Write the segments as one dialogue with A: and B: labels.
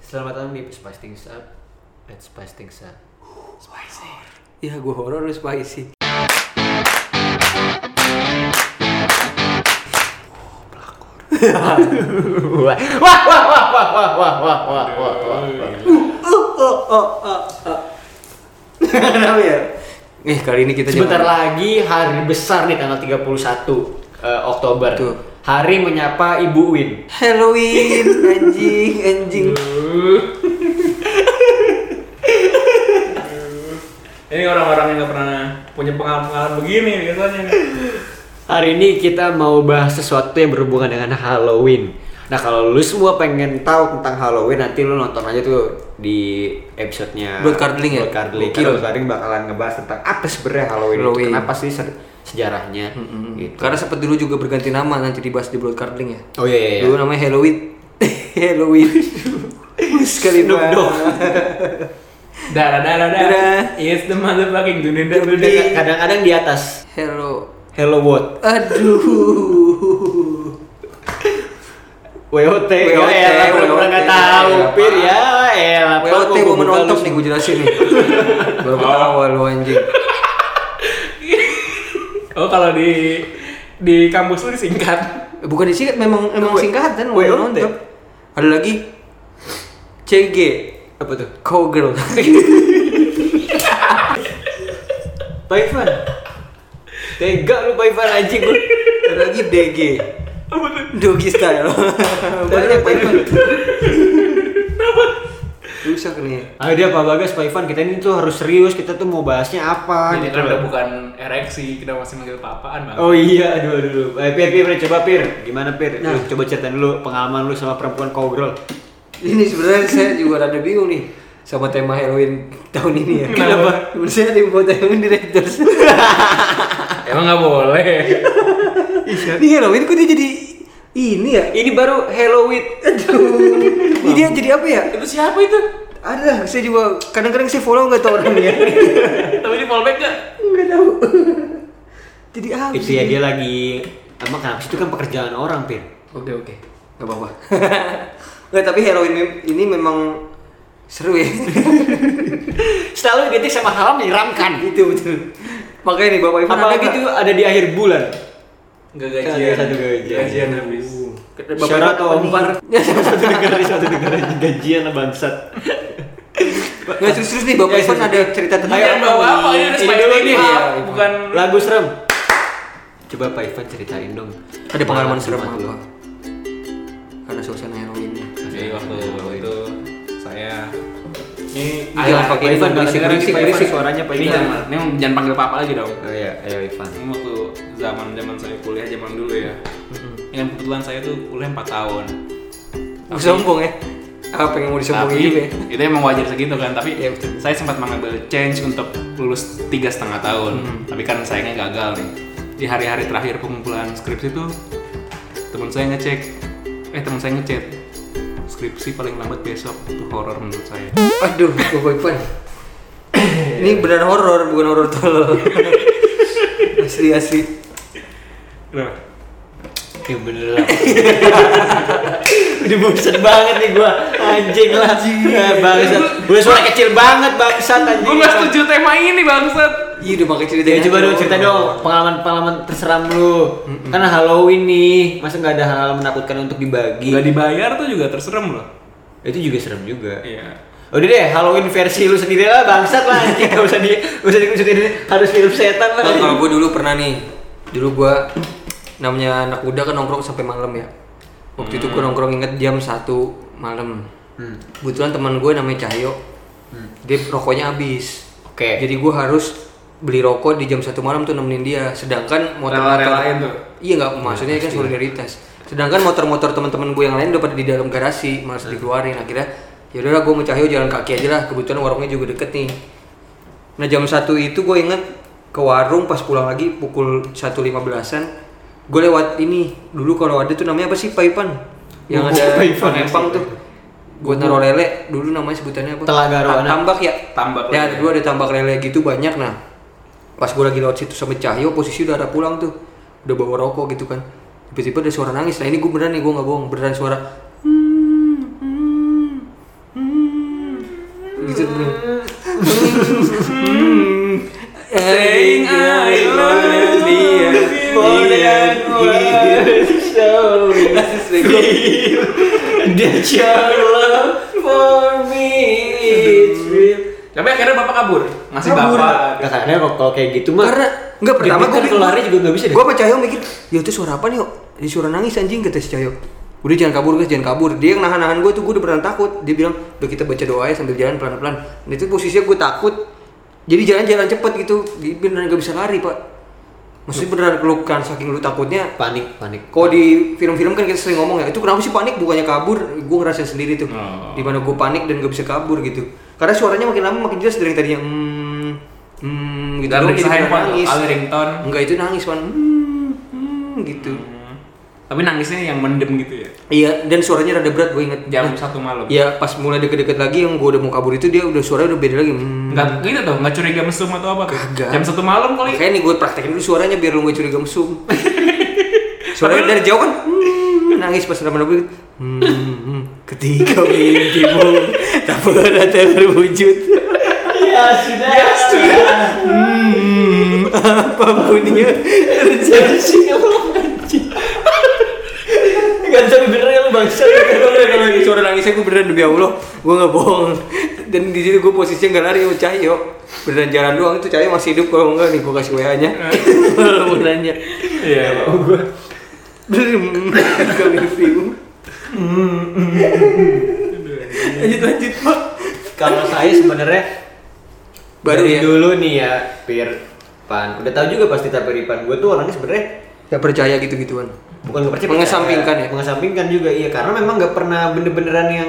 A: Selamat datang di Spice Things Up at Spice Things Up. Spicy. Ya gue horor lu spicy. Pelakor. wah wah wah wah wah wah wah wah wah wah wah. Uh, uh, uh, uh, uh. Kenapa ya? Eh kali ini kita
B: Sebentar
A: jangan-
B: lagi hari besar nih tanggal 31 eh, Oktober.
A: Tuh.
B: Hari menyapa Ibu Win.
A: Halloween anjing anjing.
C: Ini orang-orang yang gak pernah punya pengalaman begini gitu kan, biasanya. nih.
B: Hari ini kita mau bahas sesuatu yang berhubungan dengan Halloween. Nah kalau lu semua pengen tahu tentang Halloween nanti lu nonton aja tuh di episode-nya
A: Blood Curdling ya?
B: Blood Curdling.
A: Gokil.
B: Karena Blood Curdling bakalan ngebahas tentang apa sebenarnya Halloween, itu,
A: Halloween.
B: kenapa sih se- sejarahnya gitu.
A: Karena sempat dulu juga berganti nama nanti dibahas di Blood Curdling ya.
B: Oh iya iya. iya.
A: Dulu namanya Halloween. Halloween. Sekali
B: Snoop Dogg.
C: Dara dara dara.
A: Dara.
C: It's the motherfucking dunia double
B: Dia Kadang-kadang di atas.
A: Hello.
B: Hello world.
A: Aduh.
B: WOT,
A: WOT,
B: ya elah, pura-pura
A: WOT,
B: nggak tahu,
A: ya,
B: Pir, ya elah.
A: WOT
B: Gua-
A: mau
B: gua buka
A: menonton
B: lu
A: nih
B: semua.
A: gue jelasin nih. Baru ketawa lu anjing.
C: Oh kalau di di kampus lu disingkat.
A: Eh, Bukan disingkat memang emang
B: W-
A: singkatan
B: WOT.
A: nonton. Ada lagi CG
B: Apa tuh?
A: Cowgirl.
B: Pak Ivan. Tega lu Pak Ivan anjing lu.
A: Ada lagi DG. Doggy style. Banyak banget. Rusak nih.
B: Ayo dia Pak Bagas, Pak Ivan, kita ini tuh harus serius, kita tuh mau bahasnya apa
C: Jadi
B: gitu
C: kita udah
B: loh.
C: bukan ereksi, kita masih manggil papaan bang.
B: Oh iya, aduh aduh. aduh. Eh, Pir, Pir, Pir, coba Pir. Gimana Pir?
A: Nah.
B: Lu coba ceritain dulu pengalaman lu sama perempuan cowgirl.
A: Ini sebenarnya saya juga rada bingung nih sama tema Halloween tahun ini ya.
C: Kenapa?
A: Menurut saya tim buat Halloween Directors.
C: Emang nggak boleh.
A: Ini Halloween kok dia jadi ini ya?
B: Ini baru Halloween.
A: Ini dia jadi apa ya?
C: itu siapa itu?
A: Ada, saya juga kadang-kadang saya follow nggak tahu orangnya.
C: Tapi di fallback nggak?
A: Nggak tahu. Jadi apa?
B: Itu
A: sih?
B: ya dia lagi emang kenapa sih itu kan pekerjaan orang, Pir.
A: Oke oke, nggak apa-apa. Nggak tapi Halloween mem- ini memang seru ya.
B: Selalu identik sama hal menyeramkan.
A: itu betul. Makanya nih bapak ibu
B: Apalagi itu ada di akhir bulan.
C: Nggak
B: gajian.
C: gajian.
B: Gajian
C: Gajian habis.
B: Syarat atau
A: ompar.
B: satu negara di satu negara aja gajian lah bangsat.
A: Nggak serius-serius nih bapak
B: Ya,
A: Ivan
B: serius.
A: ada cerita tentang
C: Ini yang bawa Iya, apa? Ini ada
B: Ini
C: spider
B: dulu
C: ini
B: nih.
C: Pak.
A: Iya,
C: bukan
B: Lagu serem. Coba Pak Ivan ceritain dong.
A: Ada pengalaman serem
B: Jumat
A: apa?
B: lu.
A: Karena suasana Halloweennya.
C: Jadi waktu itu saya ini
A: Jangan
C: Ayolah,
A: pakai
C: Pak
A: Iya, Ivan,
C: Ivan,
A: berisik,
C: dengerin
A: berisik,
C: nih, Pak Ivan.
A: berisik suaranya,
B: Pak
C: Ini
B: Ivan.
C: jangan, ini jangan panggil papa lagi dong.
B: Oh iya, ayo Ivan.
C: Ini waktu zaman zaman saya kuliah zaman dulu ya. Ini kan kebetulan saya tuh kuliah 4 tahun.
A: Gue sombong ya. Apa yang mau disombongin juga ya?
C: itu emang wajar segitu kan. Tapi
A: Iya, betul.
C: saya sempat mengambil change untuk lulus tiga setengah tahun. Tapi kan sayangnya gagal nih. Di hari-hari terakhir pengumpulan skripsi tuh teman saya ngecek, eh teman saya ngechat skripsi paling lambat besok itu horor menurut saya.
A: Aduh, bapak Ivan. Ini benar horor, bukan horor tolol. asli asli.
C: Kenapa?
B: Ya bener lah. Udah bosen banget nih gua. Anjing lah. Eh, bangsat. Gua suara kecil banget bangsat anjing.
C: Gue gak setuju tema ini bangsat.
A: Iya udah pakai cerita.
B: Ya, coba dong cerita dong pengalaman-pengalaman terseram lu. Karena Halloween nih, masa nggak ada hal-hal menakutkan untuk dibagi?
C: Gak dibayar tuh juga terserem loh.
B: Itu juga serem juga.
C: Iya.
B: Udah deh, Halloween versi lu sendiri lah, bangsat lah anjing, gak usah di, gak usah dikucutin, harus film setan lah.
A: Kalau kalau gue dulu pernah nih, dulu gue namanya anak muda kan nongkrong sampai malam ya. Waktu
B: Hmm.
A: itu gue nongkrong inget jam 1 malam. Kebetulan teman gue namanya Cahyo,
B: Hmm.
A: dia rokoknya habis.
B: Oke.
A: Jadi gue harus beli rokok di jam 1 malam tuh nemenin dia. Sedangkan motor-motor
C: Rela-relain tuh.
A: Iya nggak, maksudnya kan solidaritas. Sedangkan motor-motor teman-teman gue yang lain udah pada di dalam garasi, malas dikeluarin akhirnya. Ya udahlah gue mencahyo jalan kaki aja lah, kebetulan warungnya juga deket nih. Nah jam satu itu gue inget ke warung pas pulang lagi pukul 1.15an Gue lewat ini, dulu kalau ada tuh namanya apa sih Paipan? Yang
B: Bubuk
A: ada
B: Paipan.
A: Paipan tuh Buat naruh lele, dulu namanya sebutannya apa?
B: Telaga
A: Ta-
B: Roana.
A: Tambak ya?
C: Tambak
A: Ya,
C: lele.
A: dulu ada tambak lele gitu banyak nah Pas gue lagi lewat situ sama Cahyo, posisi udah ada pulang tuh Udah bawa rokok gitu kan Tiba-tiba ada suara nangis, nah ini gue beneran nih, gue gak bohong Beneran suara "Hmm, hmm, hmm, gitu bro saying I love you more
C: ya,
A: than words so easy that your love for me is real
C: Tapi akhirnya bapak kabur. Masih
A: Kabur.
C: bapak.
B: Nah, karena kalau kalau kayak gitu mah
A: karena enggak pertama
B: gue keluarnya juga nggak bisa deh.
A: gue sama Cahyo mikir ya itu suara apa nih yuk disuruh nangis anjing kata si Cahyo udah jangan kabur guys jangan kabur dia yang nahan nahan gue tuh gue udah beneran takut dia bilang udah kita baca doa ya sambil jalan pelan pelan dan itu posisinya gue takut jadi jalan jalan cepet gitu dia beneran gak bisa lari pak maksudnya beneran pelukan saking lu takutnya
B: panik panik.
A: kalau di film-film kan kita sering ngomong ya itu kenapa sih panik bukannya kabur gue ngerasain sendiri tuh
C: Oh.
A: di mana gue panik dan gak bisa kabur gitu karena suaranya makin lama makin jelas dari yang tadinya hmm hmm gitu
C: Dan
A: doang
C: bisa
A: jadi
C: handphone,
A: nangis
C: ada ringtone.
A: enggak itu nangis man hmm, hmm, gitu
C: Hmm. Tapi nangisnya yang mendem gitu ya.
A: iya dan suaranya rada berat gue inget
C: Jam satu malam.
A: ya pas mulai deket-deket lagi yang gue udah mau kabur itu dia udah suaranya udah beda lagi hmm.
C: Enggak gitu tuh, enggak curiga mesum atau apa tuh.
A: Kagak.
C: Jam satu malam kali.
A: Makanya nih gue praktekin dulu suaranya biar lu gak curiga mesum. suaranya dari jauh kan hmm, nangis pas nama nama hmm, hmm, ketika mimpimu tak pernah terwujud
B: Ya sudah. Ya sudah.
A: hmm, apapun yang terjadi
B: Gak bisa beneran ya lu bangsa.
A: kalau lagi suara nangisnya gue beneran demi Allah gue nggak bohong dan di situ gue posisinya nggak lari sama Cahyo beneran jalan doang itu Cahyo masih hidup kalau enggak nih gue kasih WA nya kalau mau nanya
C: Iya.
A: Hmm, ketika mimpimu Hmm, lanjut lanjut pak
B: Kalau saya sebenarnya
A: Baru
B: dari
A: ya?
B: dulu nih ya Pir Pan. Udah tahu juga pasti tapi Pan gue tuh orangnya sebenarnya
A: Gak percaya gitu gituan
B: bukan nggak percaya
A: Mengesampingkan ya?
B: mengesampingkan juga iya karena memang nggak pernah bener-beneran yang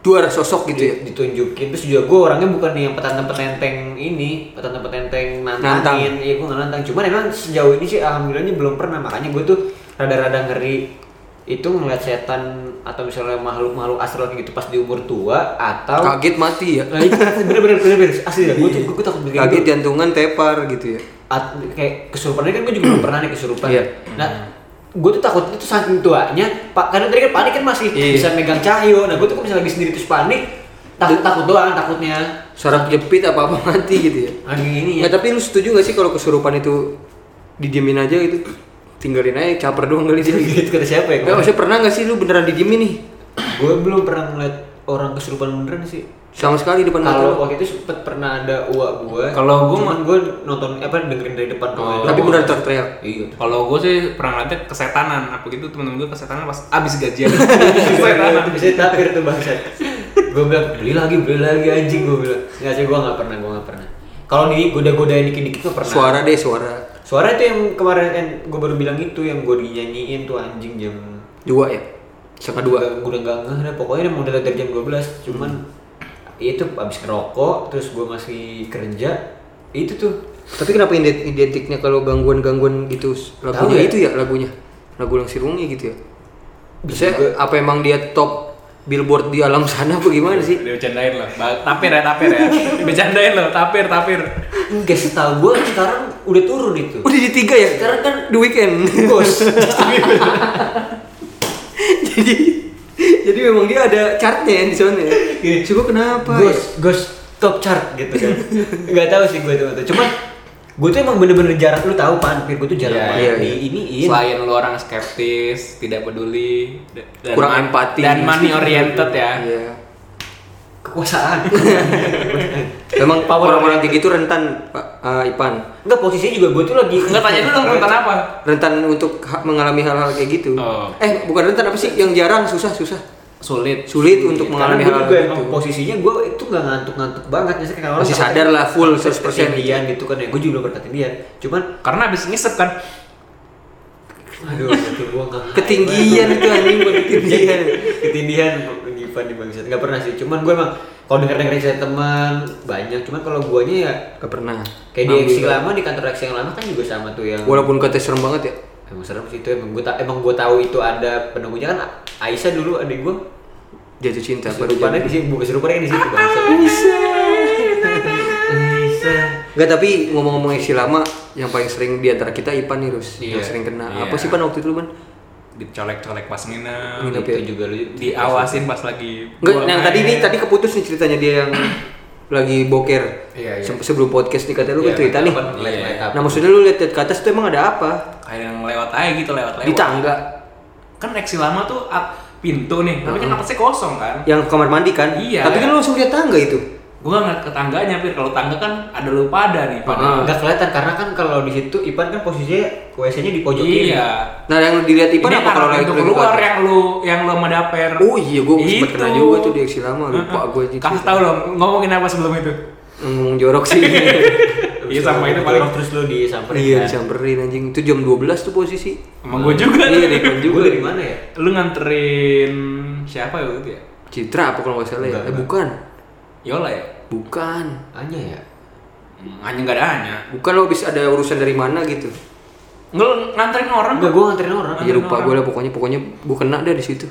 A: dua sosok gitu ya
B: di- ditunjukin terus juga gue orangnya bukan yang petantang petenteng ini petantang petenteng nantangin
A: Nantang.
B: iya gue nggak nantang cuman emang sejauh ini sih alhamdulillahnya belum pernah makanya gue tuh rada-rada ngeri itu ngeliat setan atau misalnya makhluk-makhluk astral kayak gitu pas di umur tua atau
A: kaget mati ya
B: Nah, itu bener-bener bener-bener asli gue tuh gue takut begitu
A: kaget jantungan tepar gitu ya
B: at, kayak kesurupannya kan gue juga belum pernah nih kesurupan.
A: Iya.
B: Nah, gue tuh takutnya tuh saking tuanya, pak karena tadi kan panik kan masih
A: Iya.
B: bisa megang cahyo. Nah, gue tuh kok bisa lagi sendiri terus panik, takut takut doang takutnya.
A: saraf jepit apa apa mati gitu ya
B: Lagi gini ya.
A: Nggak, tapi lu setuju gak sih kalau kesurupan itu didiemin aja gitu tinggalin aja caper doang kali dia gitu
B: Gitu kata siapa ya?
A: Nggak, maksudnya pernah gak sih lu beneran didiemin nih
B: Gue belum pernah ngeliat orang kesurupan beneran sih.
A: sama sekali depan mata lu
B: Kalau waktu itu sempet pernah ada uak gue.
C: Kalau gua
B: cuman gue nonton apa dengerin dari depan rumah doang.
A: Oh. tapi beneran teriak
B: Iya.
C: Kalau gue sih pernah ngeliatnya kesetanan, apa gitu temen-temen gue kesetanan pas abis gajian
B: Kesetanan.
C: Kesetanan
B: Bisa tapir tuh bangsa. gue bilang beli lagi beli lagi anjing gue bilang. Nggak sih gue nggak pernah gue nggak pernah. Kalau di goda-godain dikit-dikit tuh pernah.
A: suara deh suara
B: Suara itu yang kemarin yang gue baru bilang itu yang gue dinyanyiin tuh anjing jam
A: dua ya setengah dua
B: Gua udah nggak ngeh dah pokoknya mau dari jam 12 cuman itu abis ngerokok terus gue masih kerja itu tuh
A: Tapi kenapa ident- identiknya kalau gangguan-gangguan gitu s-
B: Tahu
A: lagunya
B: ya?
A: itu ya lagunya lagu yang sirungi gitu ya.
B: Bisa
A: Bisa apa emang dia top billboard di alam sana apa gimana sih?
C: Dia bercandain loh, Ba- tapir ya tapir ya Bercandain loh, tapir tapir
B: enggak setahu gue sekarang udah turun itu
A: Udah di tiga ya?
B: Iya. Sekarang kan
A: The Weekend.
B: bos
A: jadi jadi memang dia ada chartnya yang di sana ya.
B: Gini.
A: Sih, gua kenapa? ya?
B: Ghost, ghost top chart gitu kan. Enggak tahu sih gue tuh. Cuman gue tuh emang bener-bener jarang lu tahu pan, gue tuh jarang
C: Iya,
B: banget
A: iya,
B: di
A: iya.
B: ini ini.
C: Selain lu orang skeptis, tidak peduli da- dan
A: Kurang
C: ma-
A: empati.
C: Dan money oriented ya
A: Iya.
B: kekuasaan.
A: Memang
B: Power
A: orang-orang kayak gitu rentan Pak eh, Ipan.
B: Enggak posisinya juga gue tuh lagi
C: Enggak tanya dulu dong tentang apa
A: Rentan untuk ha- mengalami hal-hal kayak gitu.
C: Oh.
A: Eh, bukan rentan apa sih? Yang jarang, susah, susah.
C: Sulit
A: Sulit untuk
B: Iya, Karena
A: mengalami
B: gue
A: hal-hal
B: juga emang
A: gitu.
B: posisinya gue itu nggak ngantuk-ngantuk banget ya kayak orang
A: Masih
B: takut
A: sadar lah, full 100%.
B: ketindihan gitu kan ya gue juga belum berketindihan cuman
C: Karena abis ngisep kan
B: aduh nanti gue nggak
A: Ketinggian itu anjing bukan ketinggian.
B: ketindihan penyipan di bangsa nggak pernah sih cuman gue emang kalau denger dengerin cerita teman banyak cuman kalau guanya ya
A: Gak pernah.
B: Kayak di
A: Ngambil.
B: Exi lama di kantor Exi yang lama kan juga sama tuh yang
A: Walaupun katanya serem banget ya.
B: emang serem sih itu emang gue emang gue tahu itu ada penunggunya kan Aisyah dulu adik gue
A: Jatuh cinta baru
B: kesurupannya di
A: jatuh.
B: sini bukan kesurupannya kan di situ bangsa
A: Ah, iya.
B: Aisyah
A: Enggak tapi ngomong-ngomong Exi lama yang paling sering di antara kita Ipan nih Rus
B: Iya.
A: yang sering kena.
C: Iya.
A: Apa sih Pan waktu itu lu Pan?
C: Dicolek-colek pas nginep
A: Nginep.
B: itu juga lu
C: Diawasin pas lagi
A: Enggak,
C: buang
A: yang tadi
C: air.
A: ini tadi keputus nih ceritanya dia yang lagi boker
B: Iya, iya.
A: Se- sebelum podcast nih katanya lu kan
B: Iya,
A: cerita nih
B: dapat lihat-lihat apa.
A: nah maksudnya lu lihat lihat ke atas tuh emang ada apa
C: kayak yang lewat aja gitu lewat lewat
A: di tangga
C: kan reaksi lama tuh ah, pintu nih tapi kan atasnya kosong kan
A: yang kamar mandi kan
C: Iya.
A: tapi kan lu langsung lihat tangga itu
C: gue nggak ngeliat ke tangganya pir kalau tangga kan ada lu pada nih pada
A: Ah.
B: Nggak kelihatan karena kan kalau di situ Ipan kan posisinya WC-nya di pojok kiri.
C: iya
A: nah yang dilihat
C: ini
A: Ipan apa kalau lagi
C: pintu
A: lagi
C: keluar ya?
A: buka?
C: yang lu yang lu sama daper
A: oh iya gue sempet
C: Itu.
A: kena juga tuh di aksi lama lupa
C: Heeh.
A: gue itu
C: kasih tau dong ngomongin apa sebelum itu
A: ngomong jorok sih
C: iya sama itu paling
B: Terus- terus lu disamperin.
A: iya
B: kan.
A: disamperin anjing itu jam 12 tuh posisi
C: emang gue juga
A: iya deh kan
B: Gua
A: juga
B: dari mana ya?
C: lu nganterin siapa ya waktu itu ya
A: Citra apa kalau nggak salah ya
B: Enggak,
A: eh,
B: enggak.
A: bukan
C: Yola ya
A: bukan
B: Anya ya.
C: Hmm, hanya nggak ada hanya
A: bukan lo bisa ada urusan dari mana gitu
C: nggak nganterin orang
B: Enggak, gua nganterin orang.
A: ya lupa gue lah pokoknya pokoknya gue kena deh di situ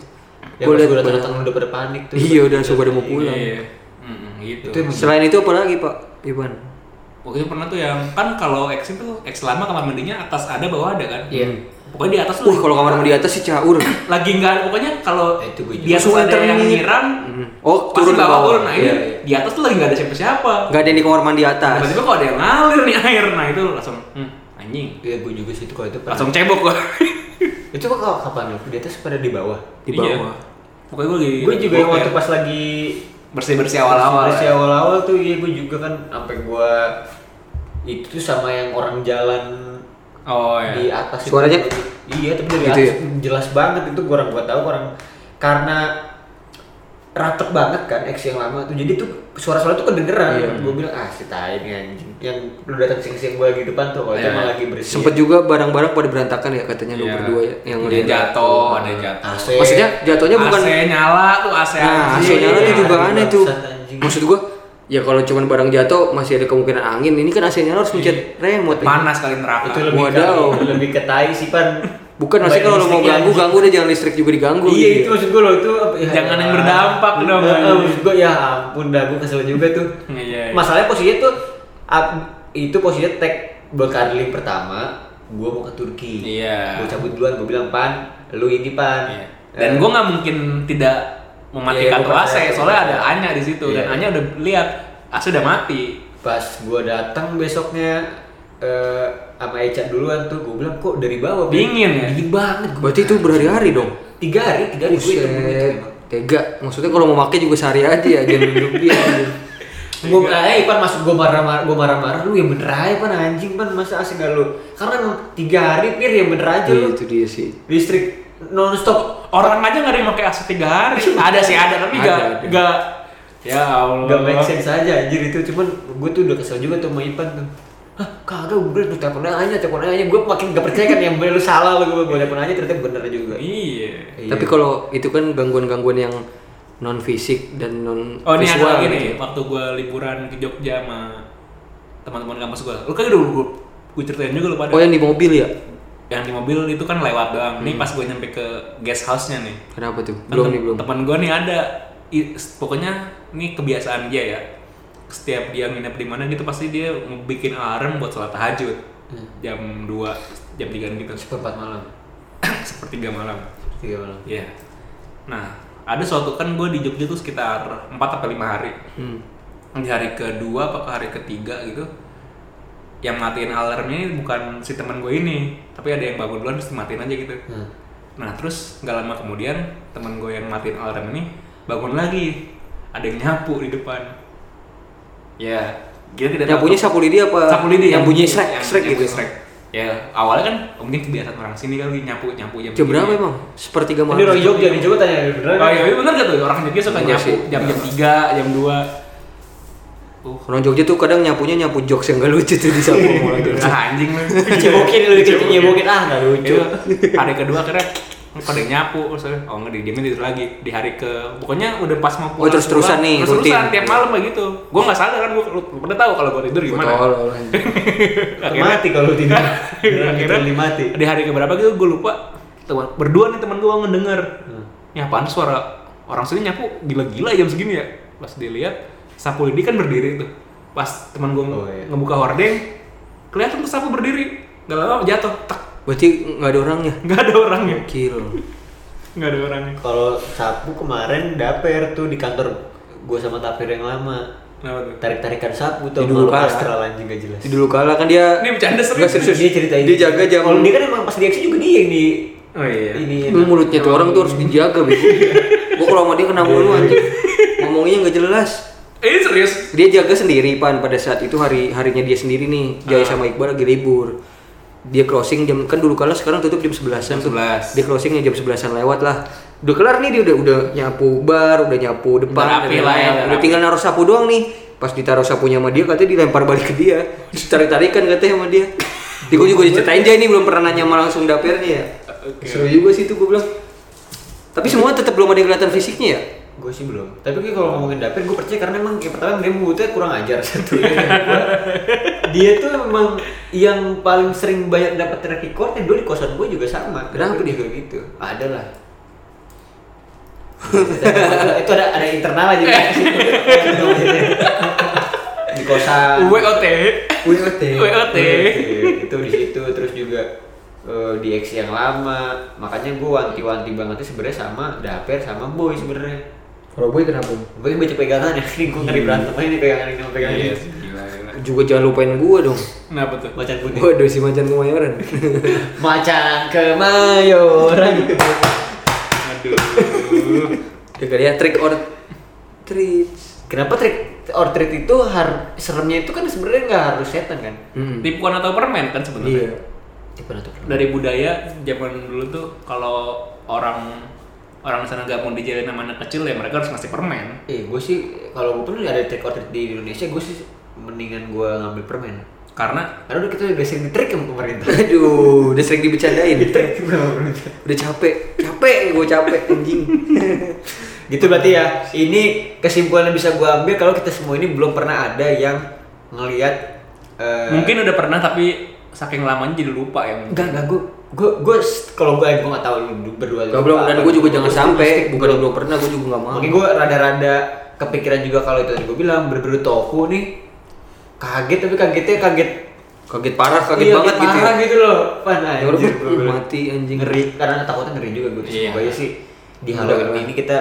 B: Ya pas
A: Gua liat
B: gua datang
A: banyak-
B: datang udah pada panik tuh.
A: iya udah langsung pada mau pulang
C: iya Mm-mm, gitu
B: Itu emang
A: selain itu apa lagi pak Iwan
C: waktu itu pernah tuh yang kan kalau X itu X lama kamar mandinya atas ada bawah ada kan
B: Iya.
C: pokoknya di atas tuh
A: wah Hmm. kalau kamar mandi atas sih caur
C: lagi nggak pokoknya kalau
B: Eh, itu gue
A: juga.
C: dia suka ada yang
A: Terngiang.
C: nyiram
A: Hmm. Oh,
C: pasti
A: turun ke
C: bawah
A: bawah.
C: turun nah ini
A: Iya,
C: di atas tuh lagi nggak ada siapa-siapa
A: nggak ada yang di kamar mandi atas
C: tiba-tiba kok ada yang ngalir nih air nah itu langsung hmm, anjing
B: Iya, gua juga situ kalau itu pernah.
C: langsung cebok gua
B: Itu kok kau- kapan lu? Di atas pada di bawah.
A: di
C: Iya.
A: bawah
C: pokoknya Iya, gua lagi
B: Gue juga yang waktu pas lagi
C: bersih bersih awal awal
B: Masih awal-awal tuh iya gue juga kan sampai gua itu tuh sama yang orang jalan
C: oh ya
B: di atas itu.
A: Suaranya?
B: Iya, tapi dari
A: Gitu
B: atas
A: ya?
B: jelas banget itu gua orang gua tahu orang karena rapet banget kan X yang lama tuh. Jadi tuh suara-suara tuh kedengeran.
A: Iya.
B: Gua bilang ah si tai nih anjing. Yang lu datang siang-siang gua lagi depan tuh kalau
C: Iya.
B: cuma lagi bersih.
A: sempet juga barang-barang pada berantakan ya katanya lu
C: Iya.
A: berdua ya yang
C: ada yang
A: lihat.
C: jatuh ada yang jatuh
B: AC.
A: maksudnya jatuhnya bukan
C: AC nyala tuh AC
A: nah
B: Iya,
A: AC-nya
B: iya,
A: itu
B: iya.
A: juga aneh tuh
B: Bangsat, anjing.
A: maksud gua ya kalau cuman barang jatuh masih ada kemungkinan angin ini kan AC-nya lo harus
B: Iya.
A: mencet remote
C: panas kali neraka
B: itu lebih ke,
A: Wadaw.
B: lebih ke tai sih pan.
A: bukan maksudnya kalau lo mau
C: Iya.
B: Listriknya
A: ganggu
B: anjing.
A: ganggu deh jangan listrik juga diganggu
B: iya
A: gitu
B: itu
A: ya.
B: maksud gue loh itu apa ya,
C: Jangan yang
B: ya.
C: berdampak dong.
B: Eh, eh, maksud gue ya ampun dah gue kesel juga tuh
C: Iya, iya, iya.
B: masalahnya posisinya tuh ap- itu posisinya tag berkarling pertama gue mau ke Turki
C: Iya.
B: gue cabut duluan gue bilang pan lu ini pan Eh,
C: Iya. Dan gue nggak mungkin tidak
B: Iya,
C: mematikan tuh
B: gua
C: AC,
B: percaya.
C: soalnya ada Anya di situ
B: Iya.
C: dan Anya udah lihat AC udah mati.
B: pas gue datang besoknya eh sama Eca duluan tuh gue bilang kok dari bawah Bin?"
C: Dingin ya?
B: dingin banget gua
A: berarti itu berhari-hari dong
B: tiga hari tiga hari gue itu
A: Buset, tega maksudnya kalau mau pakai juga sehari aja ya jangan duduk dia anjing.
B: gue eh Ipan masuk gue marah-marah gue marah-marah lu yang bener aja Pan anjing Pan masa asik gak lu karena emang tiga hari pir yang bener aja
A: Iya,
B: lu
A: itu dia sih
B: listrik nonstop
C: Orang aja nggak ada yang pakai AC tiga hari. ada sih ada tapi
A: Ada,
C: nggak
A: ada.
C: nggak. Ya Allah.
B: gak make sense aja anjir itu cuman gue tuh udah kesel juga tuh sama Ipan tuh Hah, kagak gue bilang, tuh telepon aja, telepon aja Gue makin gak percaya kan yang bener lu salah lu Gue gue telepon aja ternyata bener juga
C: Iya.
B: Iya.
A: Tapi kalau itu kan gangguan-gangguan yang non fisik dan non
C: Oh ini ada
A: visual
C: lagi nih
A: gitu.
C: waktu gue liburan ke Jogja sama teman-teman kampus gue. Lu kan dulu gue ceritain juga lu pada.
A: Oh yang di mobil ya?
C: Yang di mobil itu kan lewat doang. Nih pas gue nyampe ke guest house-nya nih.
A: Kenapa tuh?
C: Kan
A: Hmm. Belum
C: tem-
A: nih belum.
C: teman gue nih ada I- pokoknya ini kebiasaan dia ya setiap dia nginep di mana gitu pasti dia bikin alarm buat sholat tahajud
A: Hmm.
C: jam 2 jam 3 gitu
B: Seperempat malam
C: sepertiga malam
B: Tiga malam
C: Iya nah ada suatu kan gue di Jogja tuh sekitar 4 sampai 5 hari
A: Hmm.
C: di hari kedua apa ke hari ketiga gitu yang matiin alarmnya ini bukan si teman gue ini tapi ada yang bangun duluan terus dimatiin aja gitu
B: Hmm.
C: nah terus nggak lama kemudian teman gue yang matiin alarm ini bangun lagi ada yang nyapu di depan ya kita tidak
A: Yang punya
C: tahu-
A: sapu lidi apa?
C: sapu lidi
A: yang bunyi srek
C: yang-
A: srek
C: yang
A: gitu.
C: bunyi srek. ya awalnya kan oh, mungkin kebiasaan orang sini kali nyapu nyapu jam
A: Jam
C: segini.
A: berapa emang? Sepertiga
B: Ini
A: malam.
B: orang Jogja nih, coba tanya bener
C: oh iya bener gak tuh orang Jogja suka
A: Enggak
C: nyapu
A: sih.
C: jam jam tiga jam dua uh
A: Orang Jogja tuh kadang nyapunya nyapu jokes yang gak lucu tuh di sapu sama orang Jogja.
C: Ah, anjing lu.
B: Cebokin lu, cebokin ah gak lucu
C: Itu hari kedua akhirnya pada nyapu terus saya, oh enggak didiamin tidur lagi di hari ke pokoknya udah pas mau pulang
A: terus-terusan nih,
C: terus terusan
A: rutin.
C: tiap malam kayak gitu gue nggak sadar kan gue lu pada tahu kalau gue tidur gimana
A: Betul, orang.
C: akhirnya
B: Mati kalau tidur
C: akhirnya
B: Akhirnya mati
C: di hari keberapa gitu gue lupa teman berdua nih teman gue ngedenger ya apaan suara orang sini nyapu gila-gila jam segini ya pas dilihat sapu lidi kan berdiri tuh pas teman gue
B: Oh, iya.
C: ngebuka hordeng kelihatan tuh sapu berdiri nggak lama jatuh tak
A: Berarti nggak ada orangnya.
C: nggak ada orangnya
A: Gokil.
C: nggak ada orangnya
B: Kalau sapu kemarin daper tuh di kantor gue sama tapir yang lama.
C: Kenapa tuh?
B: Tarik-tarikan sapu tuh
A: Di dulu
B: malu
A: kalah.
B: astral anjing gak jelas.
A: Jadi dulu kalah kan dia
C: Ini bercanda serius.
A: Nggak, serius.
B: Dia ceritain.
A: Dia jaga jam
B: Kalau dia kan emang pas di aksi juga dia yang di
C: Oh iya.
B: ini.
A: Lu mulutnya tuh orang tuh harus dijaga bego. Gua kalau sama dia kena mulu anjing. Ngomongnya nggak jelas.
C: Ini serius.
A: Dia jaga sendiri pan pada saat itu hari harinya dia sendiri nih. Jaya
C: Ah.
A: sama Iqbal lagi libur. Dia crossing jam kan dulu kalah sekarang tutup jam 11-an tuh.
C: 11.
A: Dia crossingnya jam 11-an lewat lah. Udah kelar nih dia udah udah nyapu bar, udah nyapu depan,
C: Udah rapi
A: dan
C: lah ya,
A: lain-lain.
C: udah
A: udah
C: rapi.
A: tinggal naruh sapu doang nih. Pas ditaruh sapunya sama dia katanya dilempar balik ke dia. Tarik-tarikan katanya sama dia. Di gua juga ceritain aja ini belum pernah nanya sama langsung dapirnya ya. Seru juga sih itu gua bilang. Tapi semua tetap belum ada yang kelihatan fisiknya ya.
B: Gue sih belum. Tapi kayak kalau ngomongin dapet gue percaya karena emang yang pertama dia mulutnya kurang ajar satu. Yang kedua, dia tuh emang yang paling sering banyak dapat track recordnya dulu di kosan gue juga sama.
A: Kenapa
B: dia kayak gitu? Ada lah. itu ada ada internal aja Di situ. Di kosan
C: WOT.
B: WOT
C: WOT.
B: itu di situ terus juga eh, di X yang lama makanya gue wanti-wanti banget tuh sebenarnya sama Daper sama Boy sebenarnya
A: Kalau boy kenapa?
B: Gue baca pegangan ya, ini gue ngeri berantem aja nih pegangan ini sama pegangan ini
C: Iya sih, gila gila.
A: Juga jangan lupain gua dong.
C: Kenapa tuh?
B: Macan putih
A: Waduh si macan kemayoran.
B: Macan kemayoran
C: Aduh.
A: Juga ya trick or treat.
B: Kenapa trick or treat itu har seremnya itu kan sebenarnya nggak harus setan kan?
A: Hmm.
C: Tipuan atau permen kan sebenarnya.
A: Iya.
B: Tipe nutup.
C: Dari budaya zaman dulu tuh kalau orang orang di sana nggak mau dijalin sama anak kecil ya mereka harus ngasih permen.
B: Eh gue sih kalau gue pun ada trick or treat di Indonesia gue sih mendingan gue ngambil permen.
C: Karena
B: Karena udah kita udah sering di trick sama pemerintah.
A: Aduh, udah sering dibecandain. udah capek, capek, gue capek anjing.
B: gitu berarti ya. Ini kesimpulan yang bisa gue ambil kalau kita semua ini belum pernah ada yang ngelihat eh,
C: mungkin udah pernah tapi saking lamanya jadi lupa ya. mungkin.
B: Enggak, enggak, gue gue gue kalau gue gue nggak tahu lu berdua gitu.
A: Gak belum dan gue juga jangan sampai, bukan belum pernah, gue juga nggak mau.
B: Mungkin gue rada-rada kepikiran juga kalau itu tadi gue bilang berburu tofu nih kaget tapi kagetnya kaget
A: Kaget parah, kaget
B: iya,
A: banget gitu.
B: parah
A: ya.
B: gitu loh pan
A: Ya udah,
B: anjir gua bilang.
A: mati anjing.
B: ngeri karena takutnya ngeri juga gue
C: Iya.
B: semoga aja ya sih di Halloween ini kita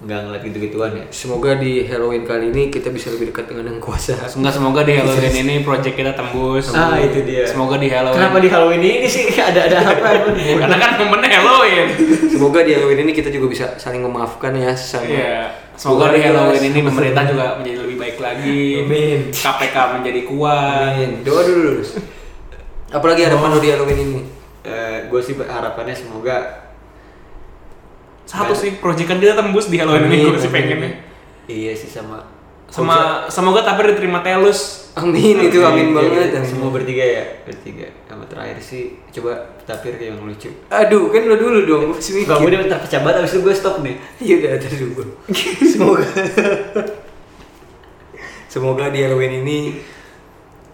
B: nggak ngeliat gitu-gituan ya
A: Semoga di Halloween kali ini kita bisa lebih dekat dengan yang kuasa.
C: Semoga semoga di Halloween ini project kita tembus.
B: Ah, itu dia.
C: Semoga di Halloween.
B: kenapa di Halloween ini sih ada ada apa ya,
C: Karena kan momennya Halloween.
A: Semoga di Halloween ini kita juga bisa saling memaafkan ya sama. ya.
C: Iya. Semoga di Halloween ini pemerintah juga menjadi lebih baik lagi.
A: Amin.
C: KPK menjadi kuat.
A: Amin. Doa dulu lulus. Apalagi harapan lo di Halloween ini?
B: gue Eh, sih harapannya semoga
C: Satu sih proyekan kita tembus di Halloween ini gue sih pengennya.
B: iya sih sama
C: Sama semoga tapi diterima Telus.
A: Amin itu amin banget.
B: Iya,
A: amin.
B: Semua bertiga ya, bertiga. Sama terakhir sih coba tapir kayak yang lucu.
A: Aduh kan lo dulu dong. gua masih mikir.
B: Gak boleh bentar pecah banget abis itu gue stop nih.
A: Iya udah ada dulu. Semoga Semoga di Halloween ini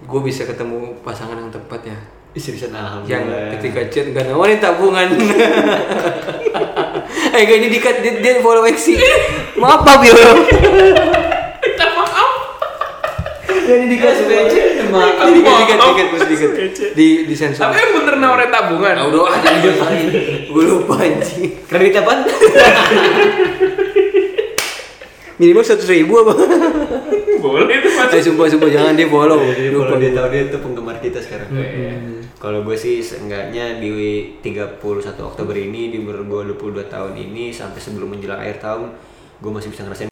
A: gue bisa ketemu pasangan yang tepat ya.
B: Istri bisa
A: Yang
B: alhamdulillah.
A: ketika chat gak nawarin tabungan. eh gak ini dikat dia, dia follow eksi. Maaf Pak Bil.
C: Minta maaf.
A: Gak ini dikat
B: SBC, maaf.
A: Dikat dikat dikat mas dikat. Di di sensor.
C: Tapi yang bener nawarin tabungan.
A: Nah, udah aja gue Gue lupa anjing.
B: Kredit apaan?
A: Minimal seratus ribu apa?
C: Boleh itu mas.
A: Eh sumpah sumpah jangan Iya, dia follow.
B: Iya, Kalau
A: Lupa.
B: dia tahu dia tuh penggemar kita sekarang. Kalau gue sih seenggaknya di 31 Oktober ini di umur gue 22 tahun ini sampai sebelum menjelang akhir tahun gue masih bisa ngerasain